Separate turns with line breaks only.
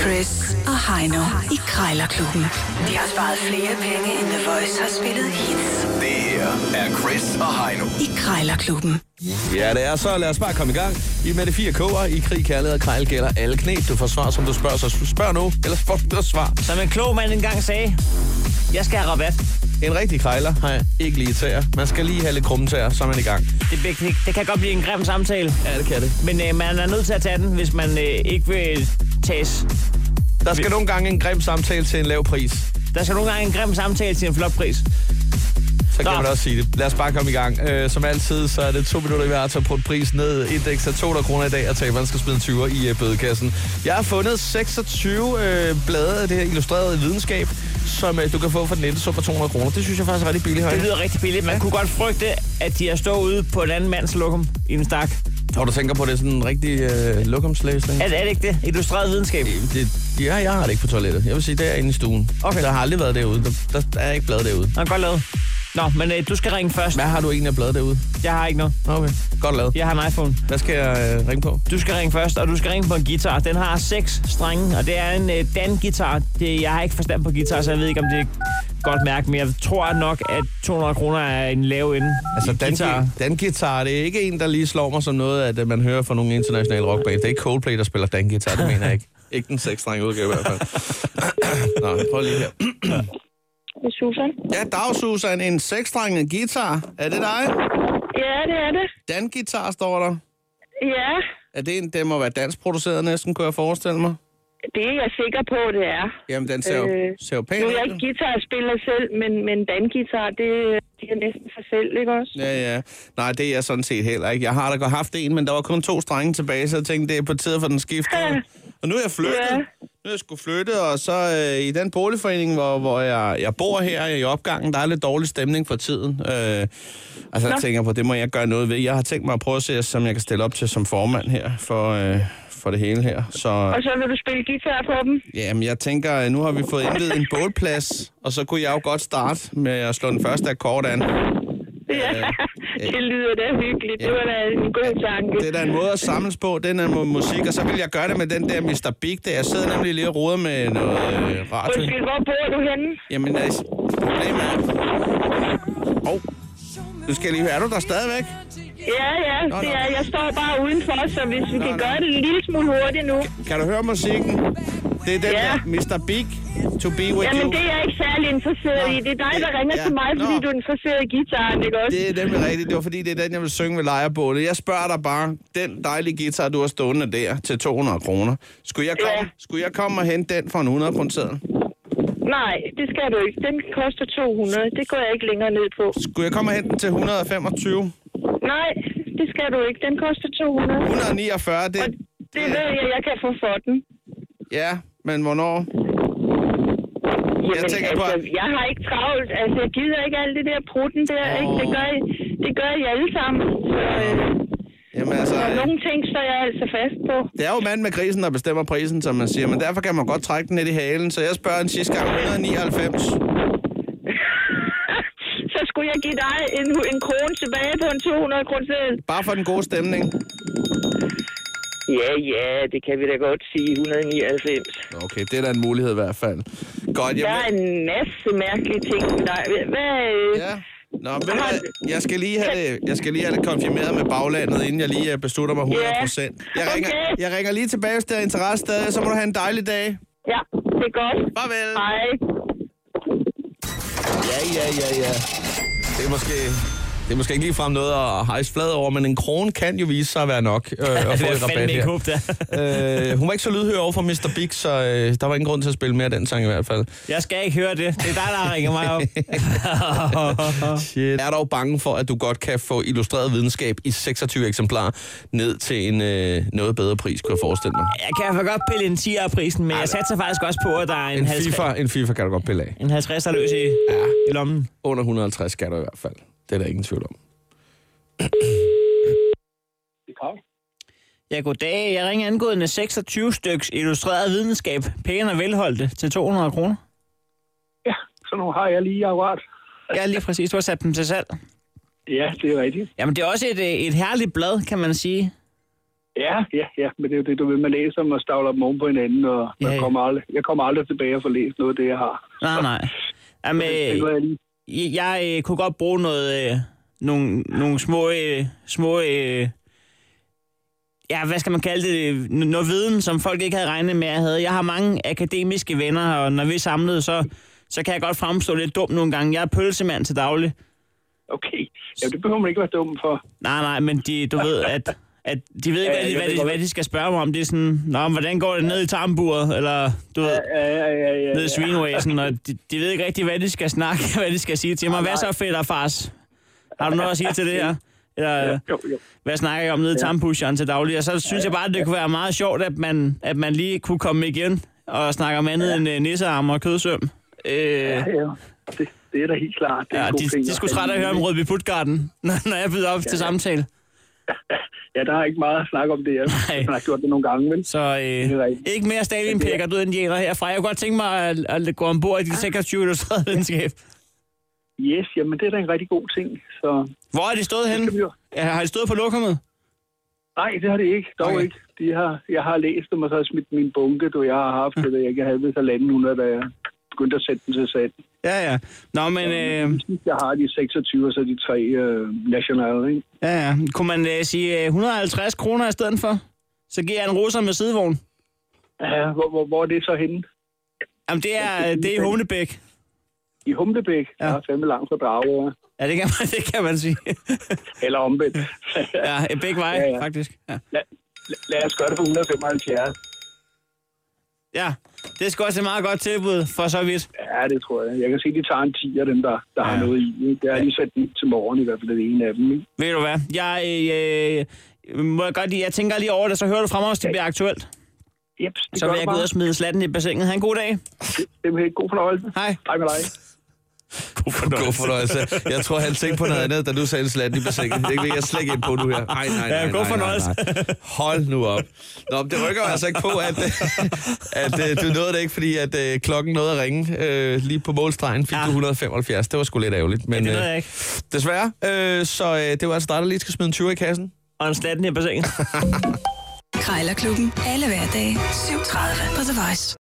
Chris og Heino i Krejlerklubben. De har sparet flere penge, end The Voice har spillet hits
Det her er Chris og Heino.
i Krejlerklubben.
Ja, det er så. Lad os bare komme i gang. I er med det fire K'er. I krig, kærlighed og krejl gælder alle knep. Du får svar, som du spørger, så spørg nu. Ellers får du et svar.
Som en klog mand engang sagde, jeg skal have rabat.
En rigtig krejler har jeg ikke lige tæer. Man skal lige have lidt krumme tæer, så er man i gang.
Det, det, det kan godt blive en grim samtale,
Ja, det kan det.
men øh, man er nødt til at tage den, hvis man øh, ikke vil tages.
Der skal nogle gange en grim samtale til en lav pris.
Der skal nogle gange en grim samtale til en flot pris.
Så kan
Nå.
man også sige det. Lad os bare komme i gang. Øh, som altid, så er det to minutter i hver til at putte prisen ned. Indeks er 200 kroner i dag, og taberen skal smide en 20'er i øh, bødekassen. Jeg har fundet 26 øh, blade af det her illustrerede videnskab, som øh, du kan få for den nette sum for 200 kroner. Det synes jeg faktisk er rigtig billigt.
Det
Høj.
lyder rigtig billigt. Man
Ja.
kunne godt frygte, at de har stået ude på en anden mands lokum i en stak.
Og du tænker på, det er sådan en rigtig øh, lokumslæsning?
Er, er det ikke det? Illustreret videnskab.
Det, ja, jeg har det ikke på toilettet. Jeg vil sige, det er inde i stuen.
Okay.
Der har aldrig været derude. Der, der er ikke blad derude.
Nå, godt lavet. Nå, men øh, du skal ringe først.
Hvad har du egentlig af blad derude?
Jeg har ikke noget.
Okay, godt lavet.
Jeg har en iPhone.
Hvad skal jeg øh, ringe på?
Du skal ringe først, og du skal ringe på en guitar. Den har seks strenge, og det er en øh, Dan-guitar. Det, jeg har ikke forstand på guitar, så jeg ved ikke, om det er et godt mærke, men jeg tror nok, at 200 kroner er en lav ende.
Altså,
i
dan, dan-guitar, det er ikke en, der lige slår mig som noget, at øh, man hører fra nogle internationale rockband. Det er ikke Coldplay, der spiller dan-guitar, det mener jeg ikke. Ikke den seksstrenge udgave i hvert fald. Nå, prøv lige her.
Det er Susan.
Ja, dag, Susan, en seksstrenget guitar. Er det dig?
Ja, det er det.
Dan-guitar står der.
Ja,
Er det en, det må være dansk produceret næsten, kunne jeg forestille mig?
det er jeg sikker på, det er.
Jamen, den ser jo,
Øh,
ser jo pæn
Nu
ud.
er jeg ikke guitarspiller selv, men, men bandguitar, det, det er næsten sig selv, ikke også?
Ja, ja. Nej, det er jeg sådan set heller ikke. Jeg har da godt haft en, men der var kun to strenge tilbage, så jeg tænkte, det er på tide for den skift. Og nu er jeg flyttet.
Ja.
Nu er jeg skulle flytte, og så øh, i den boligforening, hvor, hvor jeg, jeg bor her i opgangen, der er lidt dårlig stemning for tiden. Øh, altså, jeg tænker på, det må jeg gøre noget ved. Jeg har tænkt mig at prøve at se, som jeg kan stille op til som formand her for, øh, for det hele her. Så
Og så vil du spille guitar på dem?
jamen, jeg tænker, øh, nu har vi fået indledt en bålplads, og så kunne jeg jo godt starte med at slå den første akkord an.
Ja, det lyder da hyggeligt. Det var da en god tanke.
Det er da en måde at samles på, den her mu- musik. Og så vil jeg gøre det med den der Mr. Big der. Jeg sidder nemlig lige og roder med noget øh, radio.
Undskyld, hvor bor du henne?
Jamen, altså, problemet er... Åh, oh. nu skal jeg lige høre. Er du der stadigvæk?
Ja, ja, det
nå.
er, jeg står bare udenfor, så hvis vi
Nå,
kan
nå.
gøre det en lille smule hurtigt nu.
Kan du høre musikken? Det er den
Ja.
der Mr. Big, To Be With
Jamen,
You.
det er jeg ikke særlig interesseret
Nå.
i. Det er dig, der ringer
Ja.
til mig, fordi
Nå.
du er interesseret i gitaren, ikke også?
Det er nemlig rigtigt. Det var fordi, det er den, jeg vil synge ved lejrebålet. Jeg spørger dig bare, den dejlige guitar, du har stående der til 200 kroner. Skulle jeg komme,
Ja.
skulle jeg komme og hente den for en 100 kroner seddel?
Nej, det skal du ikke. Den koster 200. Det går jeg ikke længere ned på.
Skulle jeg komme og hente den til 125?
Nej, det skal du ikke. Den koster 200.
149, det,
Og det ved jeg, jeg kan få for den.
Ja, men hvornår?
Jamen,
Jeg tænker på-
altså, jeg har ikke travlt. Altså, jeg gider ikke alt det der prutten der,
Åh.
ikke? Det gør, I, det gør I alle sammen. Så, øh,
Jamen altså,
og
øh,
nogle ting står jeg altså fast på.
det er jo mand med grisen, der bestemmer prisen, som man siger, men derfor kan man godt trække den lidt i halen, så jeg spørger en sidste gang 199.
Så skulle jeg give dig en, en krone tilbage på en 200 kroner
Bare for den gode stemning.
Ja, ja, det kan vi da godt sige. 199.
Okay, det er da en mulighed i hvert fald. Godt,
Der er
jamen...
en masse mærkelige ting med dig. Hvad, øh,
Ja. Nå, men jeg skal lige have det, jeg skal lige have det konfirmeret med baglandet, inden jeg lige øh, beslutter mig 100 procent. Jeg ringer,
Okay.
jeg ringer lige tilbage, hvis der er interesse stadig, så må du have en dejlig dag.
ja, det er godt.
Farvel.
Hej.
Ja, ja, ja, ja. Det er måske... Det er måske ikke ligefrem noget at hejse flad over, men en krone kan jo vise sig at være nok øh, at få
Altså, Det er
et
fandme
rabat
ikke
her.
håb, der.
øh, hun var ikke så lydhør over for Mr. Big, så øh, der var ingen grund til at spille mere af den sang i hvert fald.
Jeg skal ikke høre det. Det er dig, der ringer mig op.
Shit. Er dog bange for, at du godt kan få illustreret videnskab i 26 eksemplarer ned til en øh, noget bedre pris, kunne jeg forestille mig.
Jeg kan i hvert fald godt pille en 10'er af prisen, men jeg satser faktisk også på, at der er en,
En
50,
FIFA, en FIFA kan du godt pille af.
en 50'er løs i, i lommen.
Under 150 skal du i hvert fald. Det er der ingen tvivl om.
Ja, goddag. Jeg ringer angående 26 styks illustreret videnskab. Pæne og velholdte til 200 kroner.
Ja, så nu har jeg lige akkurat.
Ja, lige præcis. Du har sat dem til salg.
Ja, det er rigtigt.
Jamen, det er også et, øh, et herligt blad, kan man sige.
Ja, ja, ja, men det er jo det, du ved, man læser dem og stavler dem oven på hinanden, og
Ja,
ja,
ja.
ja. Kommer aldrig, jeg kommer aldrig tilbage og får læst noget af det, jeg har.
Nej, nej. Jamen,
Det var
øh,
jeg lige.
jeg øh, kunne godt bruge noget, øh, nogle, nogle små, øh, små øh, ja, hvad skal man kalde det, N- noget viden, som folk ikke havde regnet med, jeg havde. Jeg har mange akademiske venner, og når vi er samlet, så, så kan jeg godt fremstå lidt dum nogle gange. Jeg er pølsemand til daglig.
Okay, Jamen, det behøver man ikke være dum for.
Nej, nej, men de, du ved, at, at de ved ikke,
Ja,
hvad, de,
jeg
hvad,
ved
de,
godt,
hvad de skal spørge mig om. Det er sådan, Nå, men hvordan går det ned i tarmburet, eller du ved,
Ja, ja, ja, ja.
ned i svinvæsen, og de, de ved ikke rigtig, hvad de skal snakke, hvad de skal sige til
Ah,
mig. Hvad så, fætter fars? Har du noget at sige til det her? Eller, øh,
Jo, jo.
hvad snakker jeg om nede i tarmpusheren til daglig? Og så synes jeg bare, at det kunne være meget sjovt, at man, at man lige kunne komme igen og snakke om andet end øh, nissearm og kødsøm. Øh,
Ja, ja. Det, det er da helt klart. Det er
ja,
en god
de,
ting
de
at
skulle
have
trætte af at
lige.
høre om Rødby Putgarden, når når jeg byder op til samtale.
Ja, der er ikke meget at snakke om det. Jeg
Nej.
har gjort det nogle gange, vel?
Så
er
øh,
rigtigt.
ikke mere Stalin-pækker, du indianer herfra. Jeg kunne godt tænke mig at, at gå ombord i
Ah.
dit 26 illustrerede videnskab.
Yes, jamen det er da en rigtig god ting. Så
Hvor har de stået henne?
vi jo.
Ja, Har de stået på lokummet?
nej, det har det ikke. Dog
Okay.
okay. ikke. De har, jeg har læst dem, og så har jeg smidt min bunke, du jeg har haft, eller jeg ikke havde ved halvanden hundrede, da jeg begyndte at sætte den til sat.
Ja, ja. Nå, men... Øh,
Jeg har de 26, og så de tre øh, nationale, ikke?
Ja, ja. Kunne man øh, sige øh, 150 kroner i stedet for? Så giver jeg en russer med sidevogn.
Ja, hvor, hvor, hvor er det så henne?
Jamen, det er, øh, det er i Humlebæk.
I Humlebæk?
Ja.
Ja. Jeg har fandme langt fra Drage, ja.
Ja, det kan man, det kan man sige.
eller omvendt.
ja, i begge veje, ja,
Ja,
ja.
ja.
faktisk. Ja.
lad, lad- lad os gøre det for 175.
ja, det skal også et meget godt tilbud, for så vidt.
Ja, det tror jeg. Jeg kan se, de tager en 10 af dem, der, der ja.
Ja.
har noget i. Ikke? Jeg har lige sat den til morgen, i hvert fald den ene af dem. Ikke?
Ved du hvad? Jeg, øh, øh, må jeg, godt, lige- jeg tænker lige over det, så hører du fra mig, hvis det bliver aktuelt.
Jeps, det
Så
gør
vil jeg gå ud og smide slatten i bassinet. Ha' en god dag.
Det er god fornøjelse.
Hej.
Hej med dig.
God
God fornøjelse. Jeg tror, han tænkte på noget andet, da du sagde en slat i bassinet. Det vil jeg slet ikke ind på nu her. Nej, nej, nej,
Ja, god
nej, nej,
fornøjelse.
nej. Hold nu op. Nå, men det rykker jo altså ikke på, at, at, at du nåede det ikke, fordi at, øh, klokken nåede at ringe. Øh, lige på målstregen fik
Ja.
ja. du 175. Det var sgu lidt ærgerligt. Men,
Det ved
øh,
jeg ikke.
Desværre. Øh, så øh, det var altså dig, der lige skal smide en 20 i kassen.
Og en slatten i bassinet.
Krejlerklubben. Alle hverdage. 7.30 på The Voice.